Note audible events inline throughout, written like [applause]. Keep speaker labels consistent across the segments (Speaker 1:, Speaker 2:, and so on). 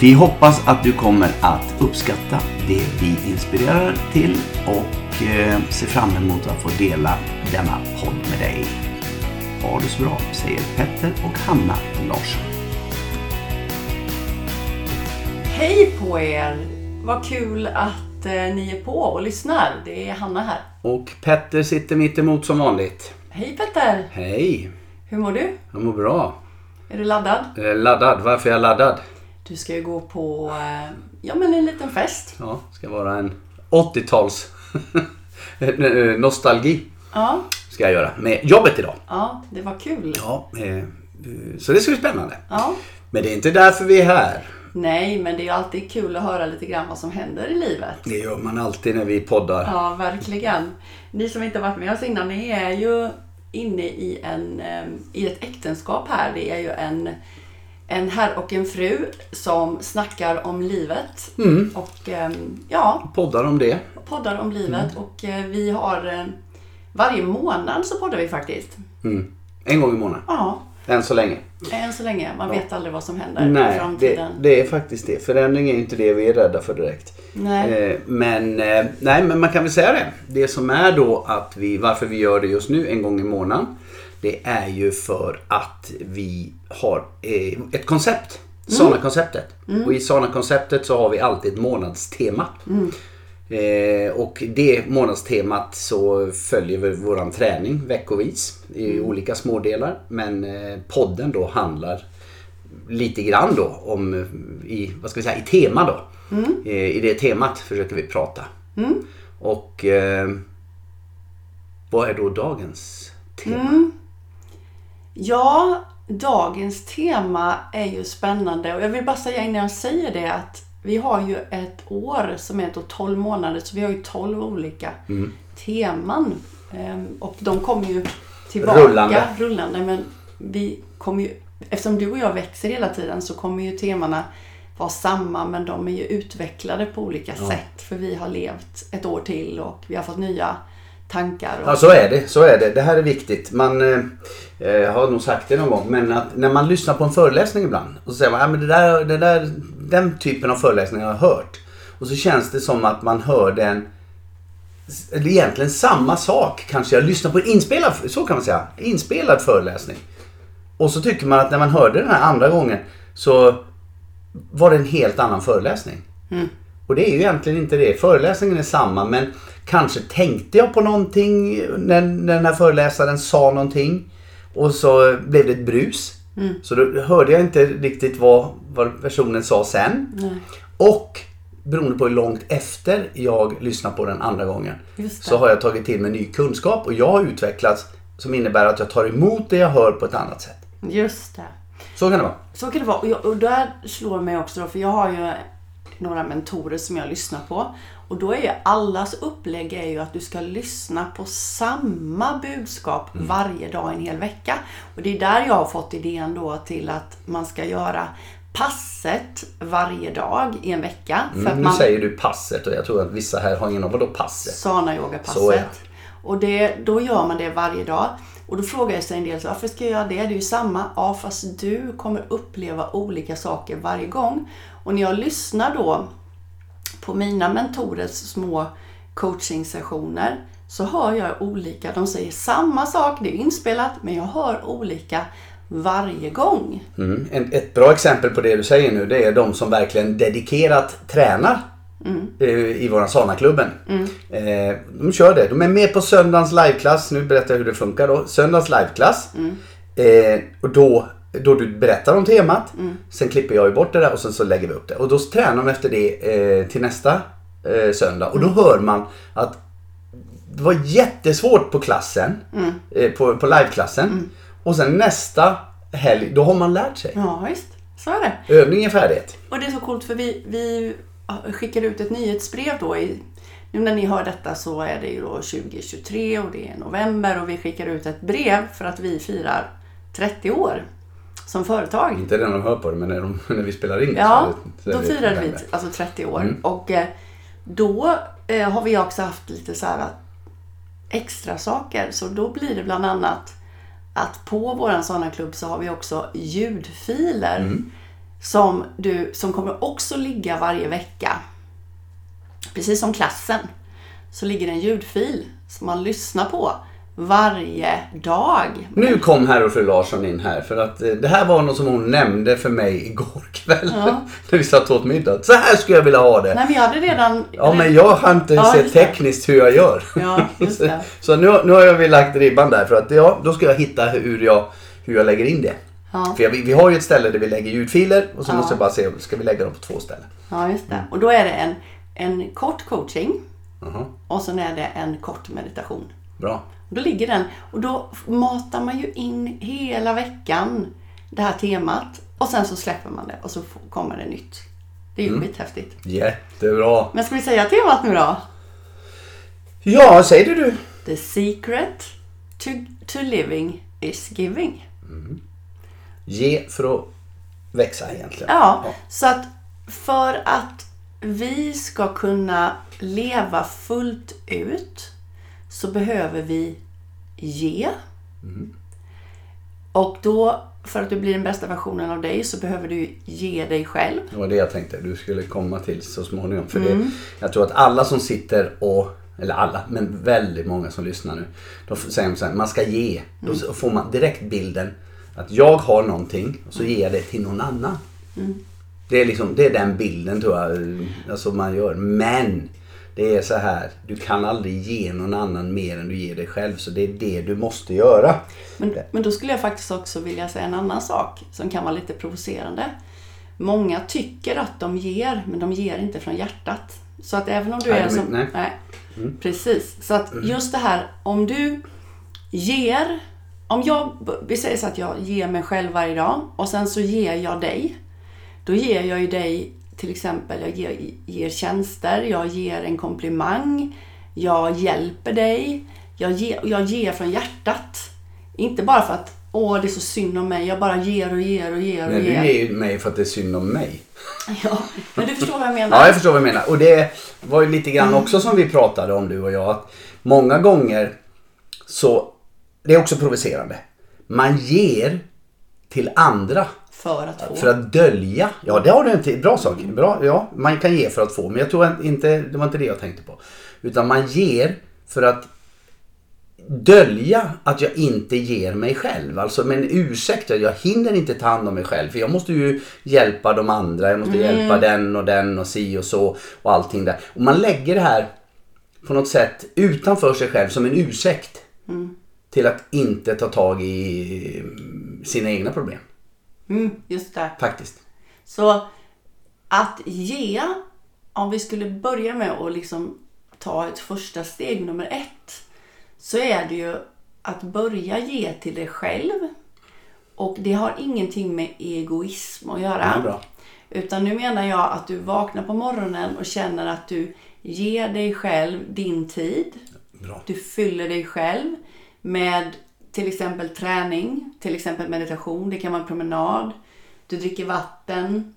Speaker 1: Vi hoppas att du kommer att uppskatta det vi inspirerar till och eh, ser fram emot att få dela denna podd med dig. Ha det så bra, säger Petter och Hanna Larsson.
Speaker 2: Hej på er! Vad kul att eh, ni är på och lyssnar. Det är Hanna här.
Speaker 1: Och Petter sitter mitt emot som vanligt.
Speaker 2: Hej Petter!
Speaker 1: Hej!
Speaker 2: Hur mår du?
Speaker 1: Jag mår bra.
Speaker 2: Är du laddad?
Speaker 1: Jag är laddad. Varför är jag laddad?
Speaker 2: Du ska ju gå på eh, ja, men en liten fest.
Speaker 1: Ja, ska vara en [laughs] 80-tals nostalgi.
Speaker 2: Ja,
Speaker 1: Ska jag göra med jobbet idag.
Speaker 2: ja det var kul.
Speaker 1: Ja, eh, så det ska bli spännande.
Speaker 2: Ja.
Speaker 1: Men det är inte därför vi är här.
Speaker 2: Nej, men det är ju alltid kul att höra lite grann vad som händer i livet.
Speaker 1: Det gör man alltid när vi poddar.
Speaker 2: Ja, verkligen. Ni som inte har varit med oss innan, ni är ju inne i, en, eh, i ett äktenskap här. Det är ju en, en herr och en fru som snackar om livet.
Speaker 1: Mm.
Speaker 2: Och eh, ja,
Speaker 1: Poddar om det.
Speaker 2: poddar om livet.
Speaker 1: Mm.
Speaker 2: Och eh, vi har eh, varje månad så poddar vi faktiskt.
Speaker 1: Mm. En gång i månaden.
Speaker 2: Ja,
Speaker 1: Än så länge.
Speaker 2: än så länge. Man vet aldrig vad som händer i
Speaker 1: Nej, det,
Speaker 2: framtiden.
Speaker 1: det är faktiskt det. Förändring är ju inte det vi är rädda för direkt.
Speaker 2: Nej.
Speaker 1: Eh, Men, eh, nej, men man kan väl säga det. Det som är då att vi, varför vi gör det just nu en gång i månaden. Det är ju för att vi har eh, ett koncept.
Speaker 2: Mm.
Speaker 1: Sana-konceptet. Och i Sana-konceptet så har vi alltid ett månadstema.
Speaker 2: Mm.
Speaker 1: Eh, och det månadstemat så följer vi våran träning veckovis i
Speaker 2: Mm.
Speaker 1: olika smådelar. Men eh, podden då handlar lite grann då om eh, i, vad ska vi säga, i tema då. Eh, I det temat försöker vi prata. Och eh, vad är då dagens tema?
Speaker 2: Ja, dagens tema är ju spännande och jag vill bara säga innan jag säger det att vi har ju ett år som är då 12 månader så vi har ju 12 olika teman. Ehm, Och de kommer ju tillbaka
Speaker 1: Rullande.
Speaker 2: rullande men vi kommer ju, eftersom du och jag växer hela tiden så kommer ju temana vara samma men de är ju utvecklade på olika sätt för vi har levt ett år till och vi har fått nya tankar. Och,
Speaker 1: Ja, så är det. Så är det. det här är viktigt. Man eh, eh, har nog sagt det någon gång, men att när man lyssnar på en föreläsning ibland och så säger man, ja, men det där, det där, den typen av föreläsning har jag hört. Och så känns det som att man hör den eller egentligen samma sak kanske. Jag lyssnar på en inspelad, så kan man säga, inspelad föreläsning. Och så tycker man att när man hörde den här andra gången så var det en helt annan föreläsning.
Speaker 2: Mm.
Speaker 1: Och det är ju egentligen inte det. Föreläsningen är samma men kanske tänkte jag på någonting när, när den här föreläsaren sa någonting. Och så blev det ett brus.
Speaker 2: Mm.
Speaker 1: Så då hörde jag inte riktigt vad, vad personen sa sen. Och beroende på hur långt efter jag lyssnar på den andra gången
Speaker 2: Just det.
Speaker 1: så har jag tagit till mig ny kunskap och jag har utvecklats som innebär att jag tar emot det jag hör på ett annat sätt.
Speaker 2: just det.
Speaker 1: Så kan det vara.
Speaker 2: Så kan det vara. Och, jag, och där slår mig också då, för jag har ju några mentorer som jag lyssnar på. Och då är ju allas upplägg är ju att du ska lyssna på samma budskap
Speaker 1: Mm.
Speaker 2: varje dag en hel vecka. Och det är där jag har fått idén då till att man ska göra passet varje dag i en vecka. För att
Speaker 1: Mm, Nu
Speaker 2: man
Speaker 1: säger du passet och jag tror att vissa här har ingen aning om vadå passet?
Speaker 2: sana yogapasset
Speaker 1: Så, ja.
Speaker 2: Och det, då gör man det varje dag. Och då frågar jag sig en del, så, varför ska jag göra det? Det är ju samma. Ja, fast du kommer uppleva olika saker varje gång. Och när jag lyssnar då på mina mentorers små coachingsessioner så hör jag olika. De säger samma sak, det är inspelat, men jag hör olika varje gång.
Speaker 1: Mm. En, ett bra exempel på det du säger nu det är de som verkligen dedikerat tränar eh, i våran Sanaklubben.
Speaker 2: Mm.
Speaker 1: Eh, de kör det. De är med på söndagens liveklass. Nu berättar jag hur det funkar då. Söndagens liveklass.
Speaker 2: Mm.
Speaker 1: Eh, och då, då du berättar om temat.
Speaker 2: Mm.
Speaker 1: Sen klipper jag ju bort det där och sen så lägger vi upp det. Och då tränar de efter det eh, till nästa eh, söndag.
Speaker 2: Mm.
Speaker 1: Och då hör man att det var jättesvårt på klassen.
Speaker 2: Mm.
Speaker 1: Eh, på, på liveklassen. Och sen nästa helg, då har man lärt sig.
Speaker 2: Ja, visst. Så är det.
Speaker 1: Övning är färdighet.
Speaker 2: Och det är så coolt för vi, vi skickade ut ett nyhetsbrev då. I, nu när ni hör detta så är det ju då 2023 och det är november och vi skickar ut ett brev för att vi firar 30 år som företag.
Speaker 1: Inte när de hör på det, men när, de, [laughs] när vi spelar in det
Speaker 2: Ja,
Speaker 1: Liksom. så är det- så är Mm. det
Speaker 2: då firade vi
Speaker 1: november.
Speaker 2: alltså 30 år. Och eh, då eh, har vi också haft lite så här eh, extra saker. Så då blir det bland annat att på våran såna klubb så har vi också ljudfiler
Speaker 1: Mm.
Speaker 2: som, du, som kommer också ligga varje vecka. Precis som klassen så ligger det en ljudfil som man lyssnar på varje dag.
Speaker 1: Nu kom herr och fru Larsson in här för att eh, det här var något som hon nämnde för mig igår [laughs] kväll när vi satt åt middag. Så här skulle jag vilja ha det.
Speaker 2: Nej men jag hade redan...
Speaker 1: Ja men jag har inte
Speaker 2: Ja,
Speaker 1: sett
Speaker 2: just det.
Speaker 1: tekniskt hur jag gör.
Speaker 2: Ja,
Speaker 1: [laughs]
Speaker 2: just det.
Speaker 1: så nu, nu har jag väl lagt ribban där för att ja, då ska jag hitta hur jag, hur jag lägger in det.
Speaker 2: Ja.
Speaker 1: För jag, vi vi har ju ett ställe där vi lägger ljudfiler och så måste jag bara se, ska vi lägga dem på två ställen?
Speaker 2: Ja, just det. Och då är det en, en kort coaching
Speaker 1: Jaha,
Speaker 2: och sen är det en kort meditation.
Speaker 1: bra.
Speaker 2: Då ligger den och då matar man ju in hela veckan det här temat och sen så släpper man det och så f- kommer det nytt. Det är ju skithäftigt.
Speaker 1: Jättebra.
Speaker 2: Men ska vi säga temat nu då?
Speaker 1: Ja, säger du du.
Speaker 2: The secret to, to living is giving.
Speaker 1: Ge för att växa egentligen.
Speaker 2: Ja, så att för att vi ska kunna leva fullt ut så behöver vi ge.
Speaker 1: Mm.
Speaker 2: Och då, för att du blir den bästa versionen av dig, så behöver du ge dig själv.
Speaker 1: Det var det jag tänkte du skulle komma till så småningom. För det, jag tror att alla som sitter och, eller alla, men väldigt många som lyssnar nu. Då f- säger de så här, man ska ge. Då s- får man direkt bilden att jag har någonting och så ger jag det till någon annan. Mm. Det, är liksom, det är den bilden tror jag eh, alltså man gör. Men det är så här, du kan aldrig ge någon annan mer än du ger dig själv. Så det är det du måste göra.
Speaker 2: Men, men då skulle jag faktiskt också vilja säga en annan sak som kan vara lite provocerande. Många tycker att de ger, men de ger inte från hjärtat. Så att även om du
Speaker 1: Nej,
Speaker 2: är
Speaker 1: de-
Speaker 2: som...
Speaker 1: nej. Mm.
Speaker 2: Precis. Så att just det här, om du ger... Om jag, vi säger så att jag ger mig själv varje dag och sen så ger jag dig. Då ger jag ju dig till exempel, jag ger, ger tjänster, jag ger en komplimang, jag hjälper dig. Jag ger, jag ger från hjärtat. Inte bara för att åh, det är så synd om mig, jag bara ger och ger och ger och
Speaker 1: Men du
Speaker 2: ger.
Speaker 1: ger ju mig för att det är synd om mig.
Speaker 2: [laughs] Ja, men du förstår vad jag menar?
Speaker 1: Ja, jag förstår vad du menar. Och det var ju lite grann också som vi pratade om du och jag. Att många gånger så, det är också provocerande. Man ger till andra
Speaker 2: För att få.
Speaker 1: för att dölja. Ja, det har du inte. Bra sak. Bra, ja, man kan ge för att få. Men jag tror att inte, det var inte det jag tänkte på. Utan man ger för att dölja att jag inte ger mig själv. Alltså med en ursäkt. Jag hinner inte ta hand om mig själv. För jag måste ju hjälpa de andra. Jag måste hjälpa den och den och si och så. Och allting där. Och man lägger det här på något sätt utanför sig själv som en ursäkt. Till att inte ta tag i eh, sina egna problem.
Speaker 2: Mm, just det.
Speaker 1: Faktiskt.
Speaker 2: Så att ge, om vi skulle börja med att liksom ta ett första steg, nummer ett, så är det ju att börja ge till dig själv. Och det har ingenting med egoism att göra.
Speaker 1: Ja, bra.
Speaker 2: Utan nu menar jag att du vaknar på morgonen och känner att du ger dig själv din tid.
Speaker 1: Bra.
Speaker 2: Du fyller dig själv med till exempel träning, till exempel meditation, det kan vara en promenad. Du dricker vatten.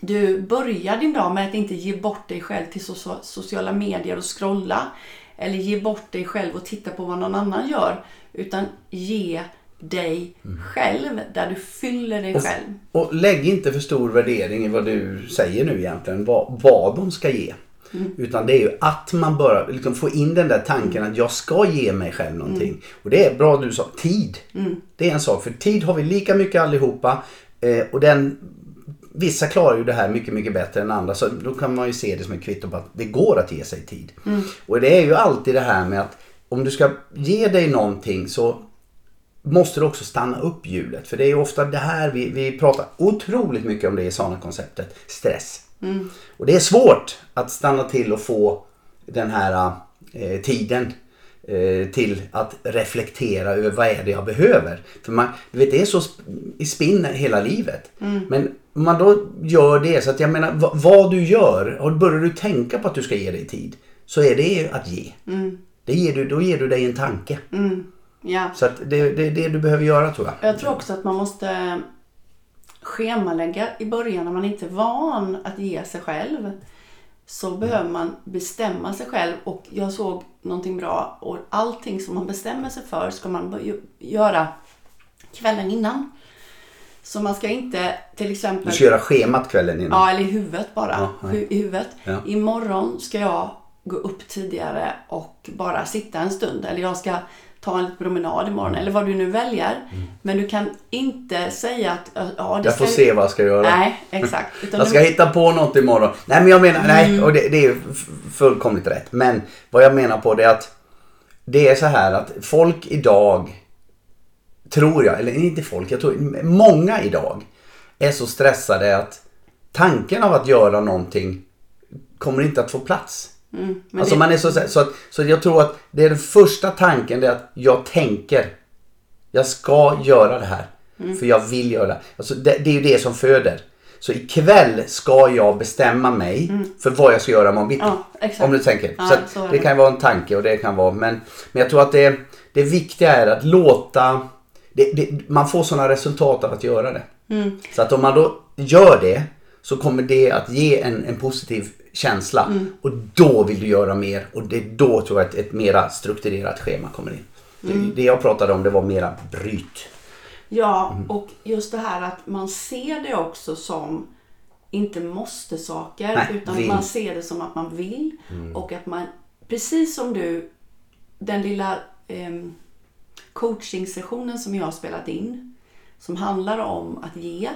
Speaker 2: Du börjar din dag med att inte ge bort dig själv till so- sociala medier och scrolla. Eller ge bort dig själv och titta på vad någon annan gör. Utan ge dig själv, där du fyller dig själv.
Speaker 1: Och lägg inte för stor värdering i vad du säger nu egentligen, vad, vad de ska ge. Utan det är ju att man börjar liksom få in den där tanken att jag ska ge mig själv någonting. Och det är bra du sa, tid. Det är en sak, för tid har vi lika mycket allihopa. Eh, och den vissa klarar ju det här mycket, mycket bättre än andra. Så då kan man ju se det som ett kvitto på att det går att ge sig tid. Och det är ju alltid det här med att om du ska ge dig någonting så måste du också stanna upp hjulet. För det är ju ofta det här vi, vi pratar otroligt mycket om det i Sana-konceptet. Stress. Och det är svårt att stanna till och få den här eh, tiden eh, till att reflektera över vad är det jag behöver. För man, du vet, det är så sp- i spinn hela livet. Men om man då gör det, så att jag menar vad, vad du gör, och börjar du tänka på att du ska ge dig tid, så är det ju att ge. Det ger du, då ger du dig en tanke.
Speaker 2: Mm. Ja.
Speaker 1: Så att det, det är det du behöver göra tror jag.
Speaker 2: Jag tror också att man måste schemalägga i början när man inte är van att ge sig själv. Så behöver man bestämma sig själv och jag såg någonting bra och allting som man bestämmer sig för ska man bör- göra kvällen innan. Så man ska inte till exempel...
Speaker 1: Du ska göra schemat kvällen innan.
Speaker 2: Ja, eller i huvudet bara.
Speaker 1: Ja,
Speaker 2: Hu- I huvudet.
Speaker 1: Ja.
Speaker 2: Imorgon ska jag gå upp tidigare och bara sitta en stund. Eller jag ska ta en liten promenad imorgon. Eller vad du nu väljer. Men du kan inte säga att... ö, Ja, det
Speaker 1: Mm. jag får
Speaker 2: ska-
Speaker 1: se vad jag ska göra.
Speaker 2: Nej, exakt. Utan Mm.
Speaker 1: Jag ska
Speaker 2: du...
Speaker 1: hitta på något imorgon. Nej men jag menar, nej och det, det är ju f- fullkomligt rätt. Men vad jag menar på det är att det är så här att folk idag, tror jag, eller inte folk, jag tror många idag är så stressade att tanken av att göra någonting kommer inte att få plats.
Speaker 2: Mm, men
Speaker 1: Alltså
Speaker 2: det-
Speaker 1: man är så, så, att, så jag tror att det är den första tanken det är att jag tänker. Jag ska göra det här.
Speaker 2: Mm.
Speaker 1: För jag vill göra det. Alltså det, det är ju det som föder. Så ikväll ska jag bestämma mig för vad jag ska göra imorgon bitti.
Speaker 2: Mm. Ja, exakt.
Speaker 1: om du tänker.
Speaker 2: Ja,
Speaker 1: så att
Speaker 2: så är
Speaker 1: det.
Speaker 2: det.
Speaker 1: kan vara en tanke och det kan vara. Men, men jag tror att det, det viktiga är att låta. Det, det, man får sådana resultat av att göra det.
Speaker 2: Mm.
Speaker 1: Så att om man då gör det så kommer det att ge en, en positiv känsla.
Speaker 2: Mm.
Speaker 1: Och då vill du göra mer och det är då tror jag att ett mera strukturerat schema kommer in.
Speaker 2: Mm.
Speaker 1: Det, det jag pratade om det var mera
Speaker 2: [laughs]
Speaker 1: bryt.
Speaker 2: Ja,
Speaker 1: Mm.
Speaker 2: och just det här att man ser det också som inte måste-saker.
Speaker 1: Nej,
Speaker 2: utan
Speaker 1: vill. Mm.
Speaker 2: man ser det som att man vill. Och att man, precis som du, den lilla ehm, coaching-sessionen som jag har spelat in. Som handlar om att ge.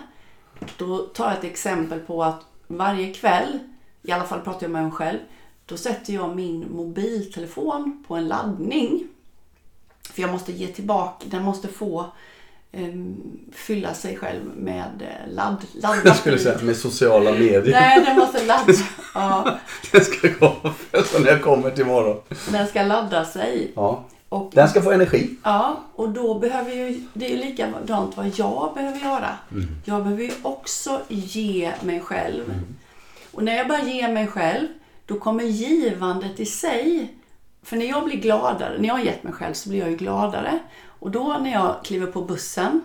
Speaker 2: Då tar jag ett exempel på att varje kväll, i alla fall pratar jag med mig själv. Då sätter jag min mobiltelefon på en laddning. För jag måste ge tillbaka, den måste få ehm, fylla sig själv med eh, ladd,
Speaker 1: [laughs]
Speaker 2: ladd
Speaker 1: med sociala [laughs] medier.
Speaker 2: Nej, den måste ladda. Ja,
Speaker 1: Den ska komma först när jag kommer till imorgon.
Speaker 2: den ska ladda sig.
Speaker 1: Ja.
Speaker 2: Och,
Speaker 1: Den ska få energi.
Speaker 2: ja, och då behöver ju, det är ju likadant vad jag behöver göra. Jag behöver ju också ge mig själv. Och när jag börjar ge mig själv, då kommer givandet i sig. För när jag blir gladare, när jag har gett mig själv så blir jag ju gladare. Och då när jag kliver på bussen,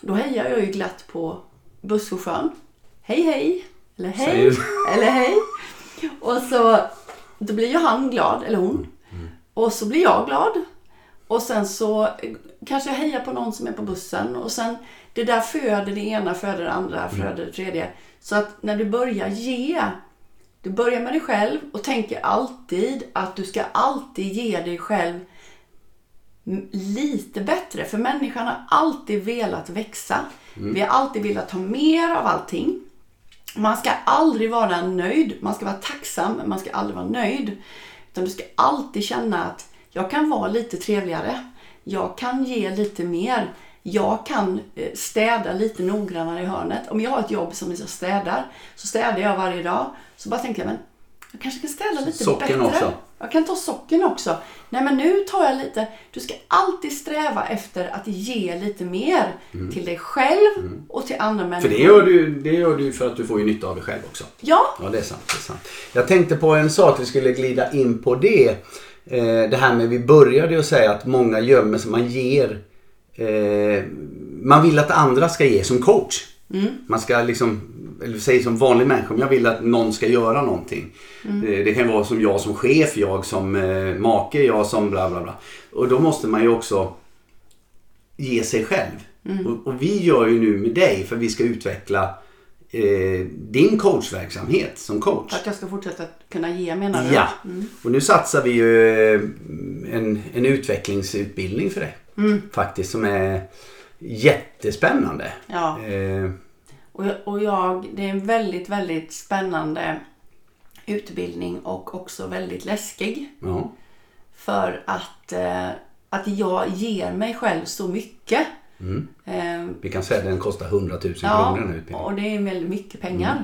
Speaker 2: då hejar jag ju glatt på busschauffören. Hej hej! Eller hej!
Speaker 1: Säger
Speaker 2: Eller hej! Och så, då blir ju han glad, eller hon. Och så blir jag glad. Och sen så eh, kanske jag hejar på någon som är på bussen. Och sen, det där föder det ena, föder det andra, föder det tredje. Så att när du börjar ge, du börjar med dig själv och tänker alltid att du ska alltid ge dig själv m- lite bättre. För människan har alltid velat växa.
Speaker 1: Mm.
Speaker 2: Vi har alltid velat ha mer av allting. Man ska aldrig vara nöjd. Man ska vara tacksam, men man ska aldrig vara nöjd. Utan du ska alltid känna att jag kan vara lite trevligare. Jag kan ge lite mer. Jag kan eh, städa lite noggrannare i hörnet. Om jag har ett jobb som jag städar, så städar jag varje dag. Så bara tänker jag, men jag kanske kan städa lite
Speaker 1: Socken
Speaker 2: bättre.
Speaker 1: också.
Speaker 2: Jag kan ta socken också. Nej men nu tar jag lite. Du ska alltid sträva efter att ge lite mer till dig själv och till andra människor.
Speaker 1: du, Mm. det gör du för att du får ju nytta av dig själv också.
Speaker 2: Ja,
Speaker 1: Ja, det är sant. Det är sant. Jag tänkte på en sak, vi skulle glida in på det. Eh, Det här med, vi började ju att säga att många gömmer sig, man ger. eh, Man vill att andra ska ge som coach. Man ska liksom, eller säg som vanlig människa, om jag vill att någon ska göra någonting. Eh, Det kan vara som jag som chef, jag som eh, make, jag som bla bla bla. Och då måste man ju också ge sig själv.
Speaker 2: Mm.
Speaker 1: Och, och vi gör ju nu med dig för vi ska utveckla eh, din coachverksamhet som coach.
Speaker 2: för att jag ska fortsätta att kunna ge menar du?
Speaker 1: Ja, och nu satsar vi ju eh, en, en utvecklingsutbildning
Speaker 2: Mm.
Speaker 1: för dig. Faktiskt som är jättespännande.
Speaker 2: Ja.
Speaker 1: Eh,
Speaker 2: Och jag, och jag, det är en väldigt, väldigt spännande utbildning och också väldigt läskig.
Speaker 1: Ja.
Speaker 2: För att, eh, att jag ger mig själv så mycket.
Speaker 1: Mm.
Speaker 2: Eh,
Speaker 1: Vi kan säga att den kostar 100 000
Speaker 2: Ja,
Speaker 1: kronor den här utbildningen.
Speaker 2: och det är väldigt mycket pengar.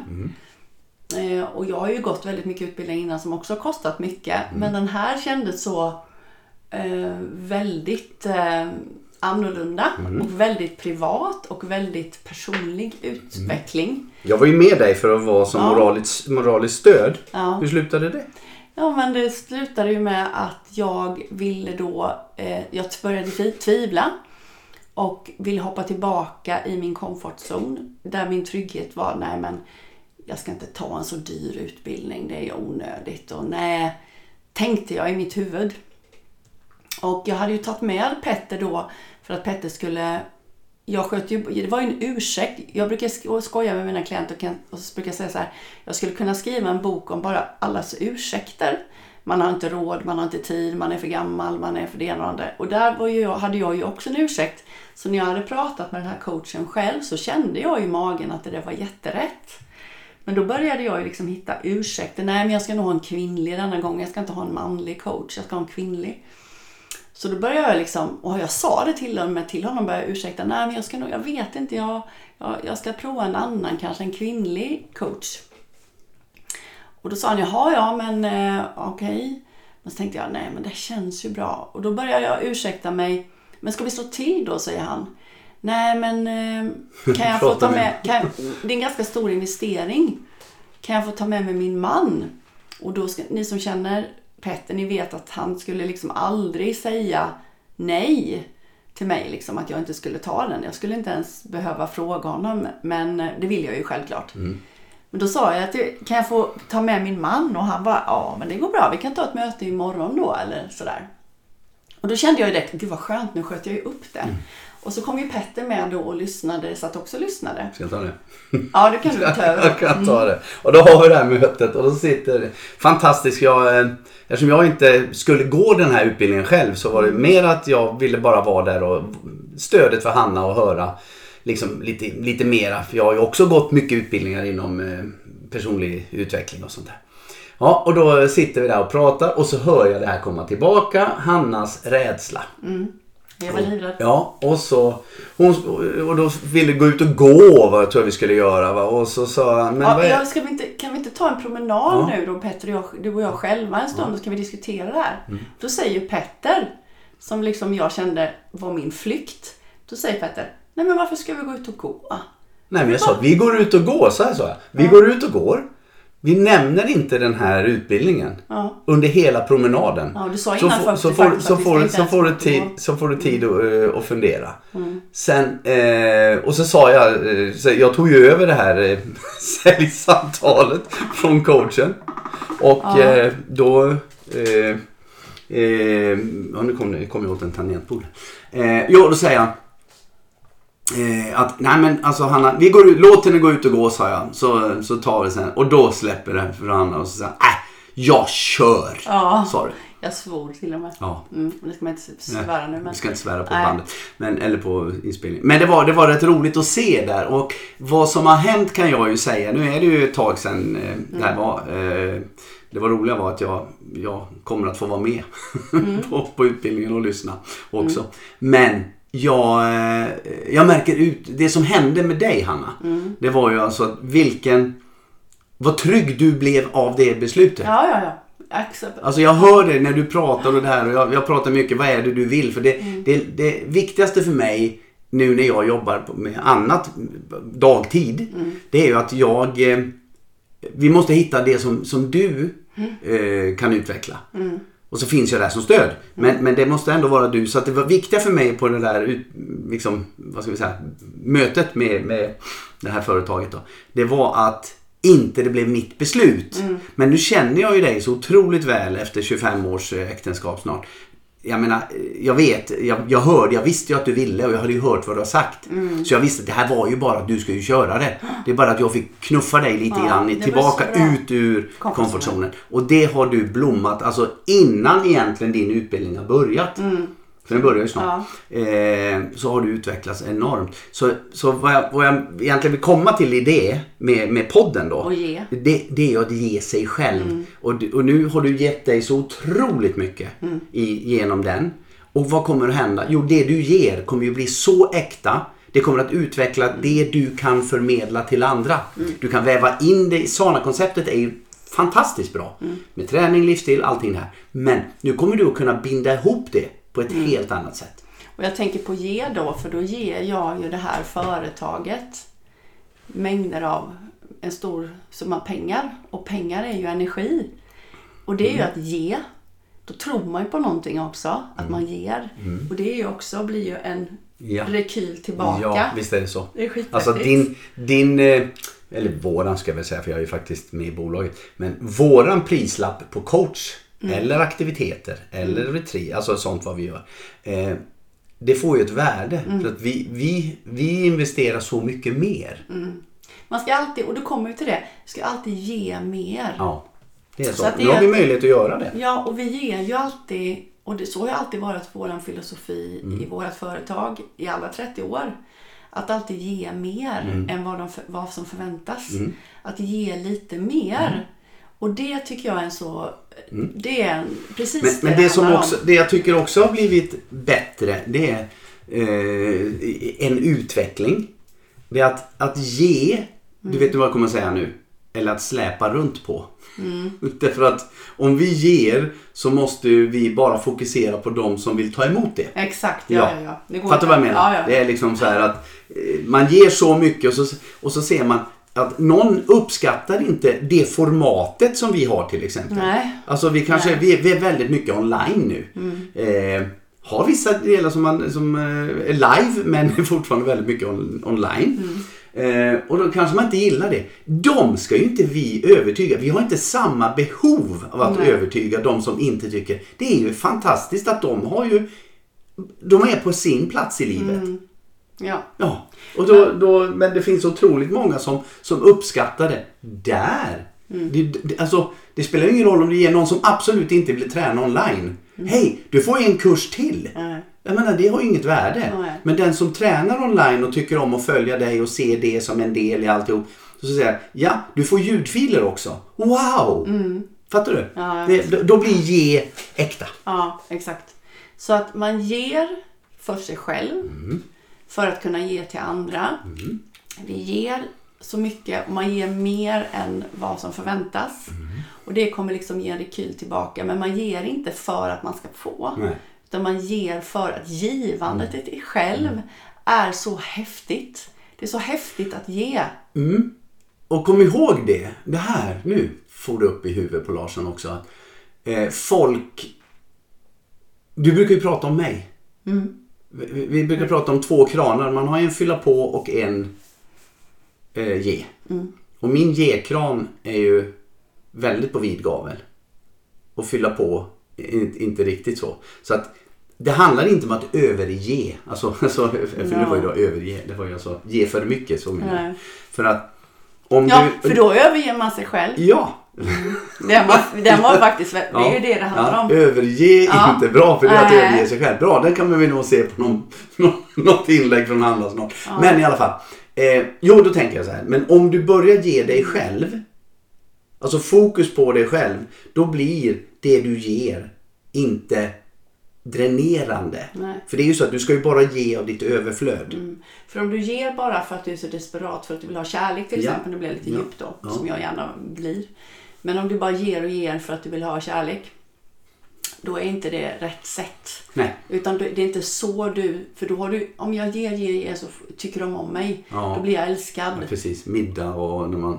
Speaker 2: Eh, och jag har ju gått väldigt mycket utbildning innan som också har kostat mycket. Men den här kändes så eh, väldigt eh, annorlunda och väldigt privat och väldigt personlig utveckling.
Speaker 1: Jag var ju med dig för att vara som moraliskt, moraliskt stöd.
Speaker 2: Ja.
Speaker 1: Hur slutade det?
Speaker 2: Ja, men det slutade ju med att jag ville då, eh, jag började tvi- tvivla och ville hoppa tillbaka i min komfortzon där min trygghet var, nej men jag ska inte ta en så dyr utbildning, det är ju onödigt och nej, tänkte jag i mitt huvud. Och jag hade ju tagit med Petter då för att Petter skulle... Jag sköt ju, det var ju en ursäkt. Jag brukar sko- skoja med mina klienter och, kan, och så brukar jag säga så här. Jag skulle kunna skriva en bok om bara allas ursäkter. Man har inte råd, man har inte tid, man är för gammal, man är för det ena och det andra. Och där var ju jag, hade jag ju också en ursäkt. Så när jag hade pratat med den här coachen själv så kände jag i magen att det där var jätterätt. Men då började jag ju liksom hitta ursäkter. Nej, men jag ska nog ha en kvinnlig denna gång. Jag ska inte ha en manlig coach, jag ska ha en kvinnlig. Så då började jag liksom, och jag sa det till honom, till honom började jag ursäkta, nej men jag ska nog, jag vet inte, jag, jag, jag ska prova en annan, kanske en kvinnlig coach. Och då sa han, jaha ja men eh, okej. Men så tänkte jag, nej men det känns ju bra. Och då började jag ursäkta mig, men ska vi slå till då, säger han. Nej men eh, kan jag få
Speaker 1: Prata
Speaker 2: ta
Speaker 1: med
Speaker 2: med, kan jag, det är en ganska stor investering. Kan jag få ta med mig min man? Och då ska, ni som känner Petter, ni vet att han skulle liksom aldrig säga nej till mig, liksom att jag inte skulle ta den. Jag skulle inte ens behöva fråga honom, men eh, det vill jag ju självklart. Men då sa jag att det- kan jag få ta med min man? Och han bara, ja men det går bra, vi kan ta ett möte imorgon då eller sådär. Och då kände jag ju direkt, gud vad skönt, nu sköt jag ju upp det. Och så kom ju Petter med då och lyssnade, satt också och lyssnade.
Speaker 1: Ska jag ta det?
Speaker 2: Ja, du kan du ta över.
Speaker 1: Jag kan ta det. Och då har vi det här mötet och då sitter fantastiskt. Jag, eh, eftersom jag inte skulle gå den här utbildningen själv så var det mer att jag ville bara vara där och stödet för Hanna och höra liksom lite, lite mera. För jag har ju också gått mycket utbildningar inom eh, personlig utveckling och sånt där. Ja, och då sitter vi där och pratar och så hör jag det här komma tillbaka. Hannas rädsla.
Speaker 2: Jag var livrädd.
Speaker 1: Ja, och så... Hon, och då ville gå ut och gå, vad jag tror vi skulle göra. Va? Och så sa han... Men
Speaker 2: Ja,
Speaker 1: vad
Speaker 2: men
Speaker 1: är...
Speaker 2: jag, ska vi inte, kan vi inte ta en promenad
Speaker 1: Ja.
Speaker 2: nu då Petter och jag, du och jag själva en stund och så kan vi diskutera det här.
Speaker 1: Mm.
Speaker 2: Då säger ju Petter, som liksom jag kände var min flykt. Då säger Petter, nej men varför ska vi gå ut och gå?
Speaker 1: Nej men jag sa, vi går ut och går. Så här sa jag. Vi går ut och går. Vi nämner inte den här utbildningen.
Speaker 2: Ja.
Speaker 1: Under hela promenaden.
Speaker 2: Ja, du sa
Speaker 1: så,
Speaker 2: innan
Speaker 1: får,
Speaker 2: 40
Speaker 1: så, får,
Speaker 2: faktiskt
Speaker 1: så,
Speaker 2: att vi ska
Speaker 1: får,
Speaker 2: inte
Speaker 1: så,
Speaker 2: ens
Speaker 1: får du
Speaker 2: gå.
Speaker 1: tid, så får du tid
Speaker 2: Mm.
Speaker 1: att, eh, att fundera. Sen, eh, och så sa jag, eh, så jag tog ju över det här eh, [laughs] säljsamtalet från coachen. Och eh, då... Eh, eh, ja, nu kom, det- kom jag åt en tangentbord. Eh, jo, då säger han. Eh, att, nej men alltså Hanna, vi går ut, låt henne gå ut och gå sa jag. Så, så tar vi sen. Och då släpper det för Hanna och så säger han, äh, jag kör.
Speaker 2: Ja.
Speaker 1: Sa du.
Speaker 2: Jag svor till och med.
Speaker 1: Ja.
Speaker 2: Mm, det ska man inte svära nu men.
Speaker 1: Vi ska inte svära på
Speaker 2: Nej.
Speaker 1: bandet. Men, eller på inspelningen. Men det var, det var rätt roligt att se där. Och vad som har hänt kan jag ju säga. Nu är det ju ett tag sedan eh, det
Speaker 2: Mm.
Speaker 1: här var. Eh, det var roliga var att jag, jag kommer att få vara med
Speaker 2: Mm.
Speaker 1: [laughs] på, på utbildningen och lyssna också. Men jag, eh, jag märker ut, det som hände med dig Hanna.
Speaker 2: Mm.
Speaker 1: Det var ju alltså att vilken, vad trygg du blev av det beslutet.
Speaker 2: Ja, ja, ja. Accept.
Speaker 1: Alltså jag hör det när du pratar och det här och jag, jag pratar mycket, vad är det du vill? För det, det, det viktigaste för mig nu när jag jobbar på- med annat dagtid, det är ju att jag, eh, vi måste hitta det som, som du eh, kan utveckla. Och så finns jag där som stöd. Men, men det måste ändå vara du. Så att det var viktiga för mig på det där ut, liksom, vad ska vi säga, mötet med, med det här företaget. Då, det var att inte det blev mitt beslut. Men nu känner jag ju dig så otroligt väl efter 25 års eh, äktenskap snart. Jag menar, eh, jag vet, jag, jag hörde, jag visste ju att du ville och jag hade ju hört vad du har sagt. Så jag visste att det här var ju bara att du ska ju köra det. Det är bara att jag fick knuffa dig lite
Speaker 2: Ja,
Speaker 1: grann
Speaker 2: det var
Speaker 1: tillbaka
Speaker 2: så bra.
Speaker 1: ut ur
Speaker 2: Komfortzonen.
Speaker 1: komfortzonen. Och det har du blommat, alltså innan egentligen din utbildning har börjat. För den börjar ju snart.
Speaker 2: Mm. Ja.
Speaker 1: Eh, så har du utvecklats enormt. Så, så vad, jag, vad jag egentligen vill komma till i det med, med podden då.
Speaker 2: Och ge.
Speaker 1: Det, det är att ge sig själv. Och, du- och nu har du gett dig så otroligt mycket i, genom den. Och vad kommer att hända? Jo, det du ger kommer ju bli så äkta. Det kommer att utveckla det du kan förmedla till andra. Du kan väva in det. Sana-konceptet är ju fantastiskt bra. Med träning, livsstil, allting det här. Men nu kommer du att kunna binda ihop det på ett helt annat sätt.
Speaker 2: Och jag tänker på ge då, för då ger jag ju det här företaget mängder av en stor summa pengar. Och pengar är ju energi. Och det är ju
Speaker 1: Mm.
Speaker 2: att ge. Då tror man ju på någonting också, att man ger. Och det är ju också, blir ju en
Speaker 1: Mm. Ja.
Speaker 2: rekyl tillbaka.
Speaker 1: Ja, visst är det så.
Speaker 2: Det är skitmäktigt.
Speaker 1: alltså din, din, eh, eller våran ska jag väl säga för jag är ju faktiskt med i bolaget. Men våran prislapp på coach
Speaker 2: Mm.
Speaker 1: eller aktiviteter eller retreat, alltså sånt vad vi gör. Eh, det får ju ett värde.
Speaker 2: Mm.
Speaker 1: För att vi, vi, vi investerar så mycket mer.
Speaker 2: Mm. Man ska alltid, och du kommer ju till det, ska alltid ge mer.
Speaker 1: Ja, det är så.
Speaker 2: Så att det
Speaker 1: Nu har
Speaker 2: är-
Speaker 1: vi möjlighet att göra det.
Speaker 2: Ja, och vi ger ju alltid, och det, så har ju alltid varit vår filosofi
Speaker 1: Mm.
Speaker 2: i vårt företag i alla 30 år. Att alltid ge mer
Speaker 1: Mm.
Speaker 2: än vad, de, för- vad som förväntas. Att ge lite mer.
Speaker 1: Mm.
Speaker 2: Och det tycker jag är en så... Det är en, precis
Speaker 1: Men, men det, som
Speaker 2: handlar om.
Speaker 1: också, det jag tycker också har blivit bättre det är eh, en utveckling. Det är att, att ge, du
Speaker 2: Mm.
Speaker 1: vet vad jag kommer säga nu, eller att släpa runt på.
Speaker 2: Mm.
Speaker 1: [laughs] Därför att om vi ger så måste ju vi bara fokusera på de som vill ta emot det.
Speaker 2: Exakt, ja, ja, ja. Det går
Speaker 1: Fattar du vad jag
Speaker 2: inte.
Speaker 1: menar?
Speaker 2: Ja, ja.
Speaker 1: Det är liksom så här att eh, man ger så mycket och så, och så ser man att någon uppskattar inte det formatet som vi har till exempel.
Speaker 2: Nej.
Speaker 1: Alltså vi kanske,
Speaker 2: Nej.
Speaker 1: vi, vi är väldigt mycket online nu. Eh, har vissa delar som, man, som eh, är live men [laughs] fortfarande väldigt mycket on, online. Eh, och då kanske man inte gillar det. De ska ju inte vi övertyga. Vi har inte samma behov av att
Speaker 2: Nej.
Speaker 1: övertyga de som inte tycker. Det är ju fantastiskt att de har ju de är på sin plats i livet.
Speaker 2: Ja.
Speaker 1: Ja. Och då, då, men det finns otroligt många som, som uppskattar det där.
Speaker 2: Mm.
Speaker 1: Det, det, alltså, det spelar ju ingen roll om du ger någon som absolut inte vill träna online. Hej, du får ju en kurs till.
Speaker 2: Mm. Nej.
Speaker 1: Jag menar, det har ju inget värde.
Speaker 2: Nej.
Speaker 1: Men den som tränar online och tycker om att följa dig och se det som en del i alltihop. Så säger jag, ja, du får ljudfiler också. Wow! Fattar du?
Speaker 2: Mm. Ja, jag
Speaker 1: det, då, då blir ge äkta.
Speaker 2: Ja, exakt. Så att man ger för sig själv
Speaker 1: Mm.
Speaker 2: för att kunna ge till andra. Vi ger så mycket och man ger mer än vad som förväntas.
Speaker 1: Mm.
Speaker 2: Och det kommer liksom ge en rekyl tillbaka. Men man ger inte för att man ska få.
Speaker 1: Nej.
Speaker 2: Utan man ger för att givandet i sig själv
Speaker 1: Mm.
Speaker 2: är så häftigt. Det är så häftigt att ge.
Speaker 1: Och kom ihåg det. Det här, nu får du upp i huvudet på Larsson också. att, Eh, folk... Du brukar ju prata om mig. Vi- Vi, vi brukar prata om två kranar. Man har en fylla på och en eh, ge. Och min ge-kran är ju väldigt på vid gavel. Och fylla på är inte, inte riktigt så. Så att det handlar inte om att överge. Alltså, [laughs] alltså för det var ju då överge. Det var ju alltså ge för mycket. Så menar jag.
Speaker 2: Nej.
Speaker 1: För att om
Speaker 2: Ja,
Speaker 1: du...
Speaker 2: för då överger man sig själv.
Speaker 1: Ja.
Speaker 2: Den var, den var faktiskt, det är ju det det handlar
Speaker 1: Ja,
Speaker 2: om.
Speaker 1: Överge
Speaker 2: Ja.
Speaker 1: inte bra, för det är att
Speaker 2: Nej.
Speaker 1: överge sig själv. Bra, den kan vi nog se på någon, någon, något inlägg från Handla snart. Men i alla fall. Eh, jo, då tänker jag så här. Men om du börjar ge dig själv. Alltså fokus på dig själv. Då blir det du ger inte dränerande.
Speaker 2: Nej. Mm.
Speaker 1: För det är ju så att du ska ju bara ge av ditt överflöd.
Speaker 2: För om du ger bara för att du är så desperat för att du vill ha kärlek till
Speaker 1: Ja.
Speaker 2: exempel, nu blir jag lite
Speaker 1: Ja.
Speaker 2: djupt då,
Speaker 1: Ja.
Speaker 2: som jag gärna blir. Men om du bara ger och ger för att du vill ha kärlek, då är inte det rätt sätt.
Speaker 1: Nej.
Speaker 2: Utan det det är inte så du, för då har du, om jag ger, ger, ger så f- tycker de om mig.
Speaker 1: Ja.
Speaker 2: Då blir jag älskad.
Speaker 1: Ja,
Speaker 2: Ja,
Speaker 1: precis, middag och när man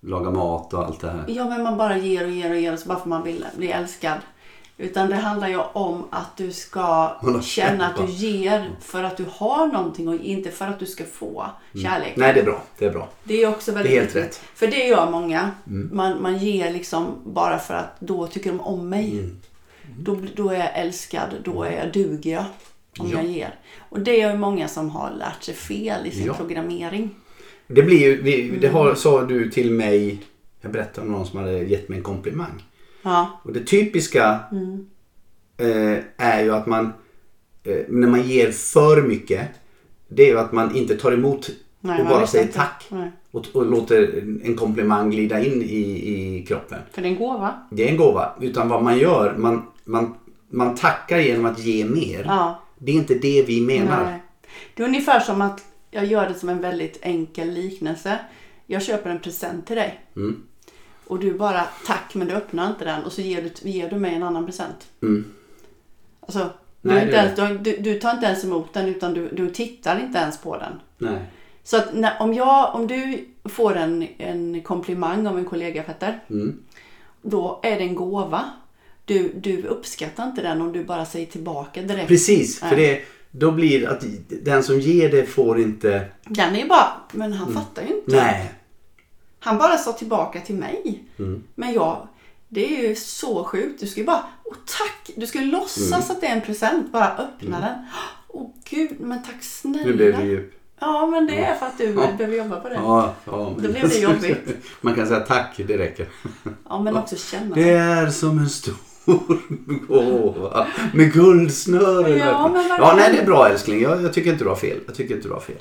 Speaker 1: lagar mat och allt det här.
Speaker 2: men man bara ger och ger och ger så bara för man vill bli älskad. Utan det handlar ju om att du ska
Speaker 1: Hålla
Speaker 2: känna att
Speaker 1: käften.
Speaker 2: du ger för att du har någonting och inte för att du ska få
Speaker 1: Mm.
Speaker 2: kärlek.
Speaker 1: Nej, det är bra. Det är bra.
Speaker 2: Det är också väldigt
Speaker 1: Det är helt
Speaker 2: viktigt.
Speaker 1: rätt. Mm.
Speaker 2: För det gör många. Man, man ger liksom bara för att då tycker de om mig.
Speaker 1: Mm.
Speaker 2: Då, då är jag älskad, då är jag duger jag. Om
Speaker 1: Ja.
Speaker 2: jag ger. Och det är ju många som har lärt sig fel i sin
Speaker 1: Ja.
Speaker 2: programmering.
Speaker 1: Det blir ju, vi-
Speaker 2: Mm.
Speaker 1: det har, sa du till mig, jag berättade om någon som hade gett mig en komplimang.
Speaker 2: Ja, Mm.
Speaker 1: Och det typiska eh, är ju att man eh, när man ger för mycket, det är ju att man inte tar emot
Speaker 2: Nej,
Speaker 1: och
Speaker 2: man
Speaker 1: bara
Speaker 2: vet
Speaker 1: säger
Speaker 2: inte. Mm.
Speaker 1: tack.
Speaker 2: Nej.
Speaker 1: Och, och låter en komplimang glida in i, i kroppen.
Speaker 2: För det är en gåva.
Speaker 1: Det är en gåva. Utan vad man gör, man, man, man tackar genom att ge mer.
Speaker 2: Ja.
Speaker 1: Det är inte det vi menar.
Speaker 2: Nej. Det är ungefär som att jag gör det som en väldigt enkel liknelse. Jag köper en present till dig.
Speaker 1: Mm.
Speaker 2: Och du bara tack men du öppnar inte den och så ger du, ger du mig en annan present. Alltså, du,
Speaker 1: Mm. Nej,
Speaker 2: är inte
Speaker 1: det är
Speaker 2: ens, du, du, du tar inte ens emot den utan du, du tittar inte ens på den.
Speaker 1: Nej.
Speaker 2: Så att när, om, jag, om du får en, en komplimang av en kollega Petter.
Speaker 1: Mm.
Speaker 2: Då är det en gåva. Du, du uppskattar inte den om du bara säger tillbaka direkt.
Speaker 1: Precis, för det, då blir att den som ger det får inte...
Speaker 2: Den är ju bara, men han fattar ju inte.
Speaker 1: Nej.
Speaker 2: Han bara sa tillbaka till mig.
Speaker 1: Mm.
Speaker 2: Men jag, det är ju så sjukt. Du ska ju bara, åh tack! Du ska ju
Speaker 1: Mm.
Speaker 2: låtsas att det är en present, bara öppna den. Åh gud, men tack snälla.
Speaker 1: Nu blev det djup.
Speaker 2: Ja, men det är för att du behöver jobba på det. Ja,
Speaker 1: Ja, ja.
Speaker 2: Mm. Då blev det jobbigt.
Speaker 1: [laughs] Man kan säga tack, det räcker.
Speaker 2: men också känna.
Speaker 1: Det är som en stor [laughs] gåva med guldsnören.
Speaker 2: Ja, men verkligen.
Speaker 1: ja, nej det är bra älskling. Jag, jag tycker inte du har fel. Jag tycker inte du har fel.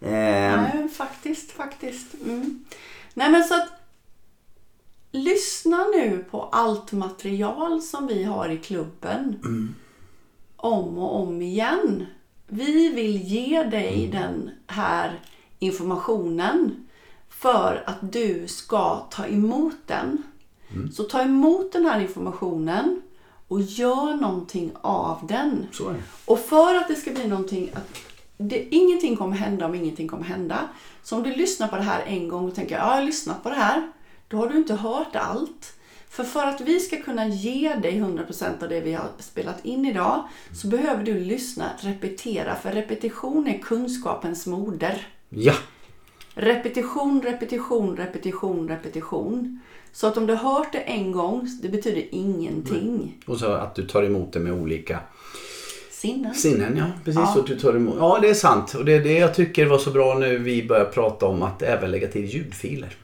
Speaker 1: Ehm,
Speaker 2: Nej, faktiskt, faktiskt. Mm. Nej, men så att lyssna nu på allt material som vi har i klubben. Om och om igen. Vi vill ge dig den här informationen för att du ska ta emot den. Så ta emot den här informationen och gör någonting av den.
Speaker 1: så är det.
Speaker 2: Och för att det ska bli någonting, att det, ingenting kommer hända om ingenting kommer hända. Så om du lyssnar på det här en gång och tänker ja, jag har lyssnat på det här. Då har du inte hört allt. För för att vi ska kunna ge dig 100% av det vi har spelat in idag så behöver du lyssna, repetera. För repetition är kunskapens moder.
Speaker 1: Ja,
Speaker 2: Repetition, repetition, repetition, repetition. Så att om du har hört det en gång, det betyder ingenting.
Speaker 1: och så att du tar emot det med olika
Speaker 2: Sinnen.
Speaker 1: sinnen. Ja, precis. Och du tar emot. ja, det är sant. Och det är det jag tycker var så bra nu vi börjar prata om att även lägga till ljudfiler.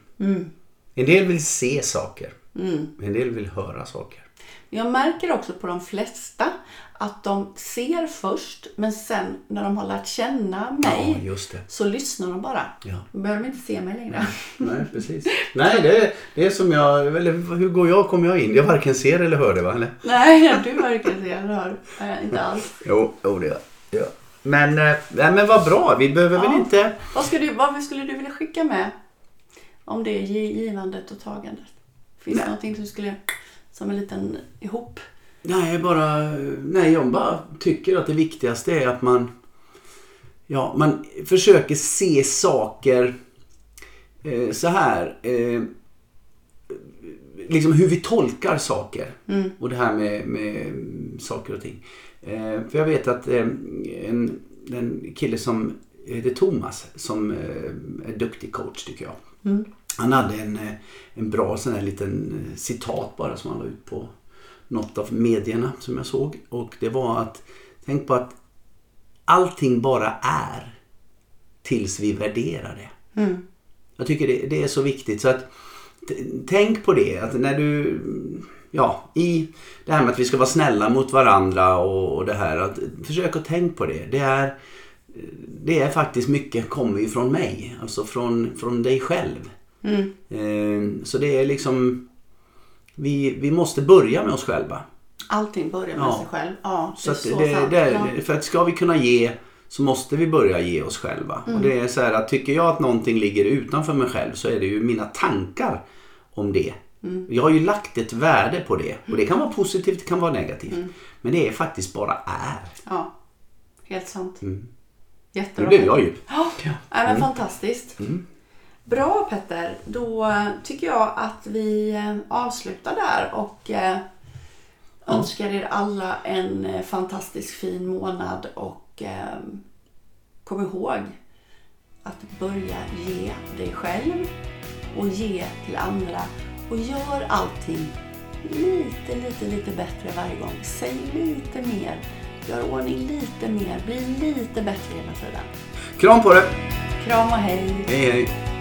Speaker 1: En del vill se saker. En del vill höra saker.
Speaker 2: Jag märker också på de flesta att de ser först, men sen när de har lärt känna mig
Speaker 1: Ja, just det.
Speaker 2: så lyssnar de bara.
Speaker 1: Ja.
Speaker 2: Då behöver de inte se mig längre.
Speaker 1: Nej, precis. Nej, det är, det är som jag... Eller hur går jag? Kommer jag in? Jag varken ser eller hör det, va? Eller?
Speaker 2: [laughs] Nej, du verkar se eller hör. Eh, inte alls.
Speaker 1: Jo, jo det gör jag. Ja. Men, eh, nej, men vad bra. Vi behöver väl
Speaker 2: Ja.
Speaker 1: inte...
Speaker 2: Vad, ska du, vad skulle du vilja skicka med om det är gi- givandet och tagandet? Finns det någonting som skulle, som en liten ihop?
Speaker 1: Nej, bara... Nej, jag bara tycker att det viktigaste är att man... Ja, man försöker se saker eh, så här. Eh, liksom hur vi tolkar saker. Och det här med, med saker och ting. Eh, för jag vet att eh, en, en kille som heter Thomas som eh, är duktig coach tycker jag. Han hade en, eh, en bra sån här liten eh, citat bara som han la ut på något av medierna som jag såg. Och det var att tänk på att allting bara är tills vi värderar det. Jag tycker det, det är så viktigt. Så att, t- tänk på det. Att när du, ja, i det här med att vi ska vara snälla mot varandra och, och det här. Att, försök att tänk på det. Det är, eh, det är faktiskt mycket kommer ju från mig. Alltså från, från dig själv. Eh, Så det är liksom, vi, vi måste börja med oss själva.
Speaker 2: Allting börjar med
Speaker 1: Ja.
Speaker 2: sig själv. Ja, det
Speaker 1: Så
Speaker 2: är
Speaker 1: att
Speaker 2: så
Speaker 1: det,
Speaker 2: sant.
Speaker 1: det,
Speaker 2: ja.
Speaker 1: För att ska vi kunna ge så måste vi börja ge oss själva.
Speaker 2: Mm.
Speaker 1: Och det är så här att tycker jag att någonting ligger utanför mig själv så är det ju mina tankar om det.
Speaker 2: Mm.
Speaker 1: Jag har ju lagt ett värde på det. Och det kan vara positivt, det kan vara negativt.
Speaker 2: Mm.
Speaker 1: Men det är faktiskt bara är.
Speaker 2: ja. Helt sant.
Speaker 1: Nu
Speaker 2: Jättebra.
Speaker 1: blev jag djup.
Speaker 2: Ja, nej, men fantastiskt. Bra Petter, då eh, tycker jag att vi eh, avslutar där och eh, önskar er alla en eh, fantastisk fin månad och eh, kom ihåg att börja ge dig själv och ge till andra och gör allting lite, lite, lite bättre varje gång. Säg lite mer, gör ordning lite mer, bli lite bättre hela tiden.
Speaker 1: Kram på dig!
Speaker 2: Kram och hej!
Speaker 1: Hej hej!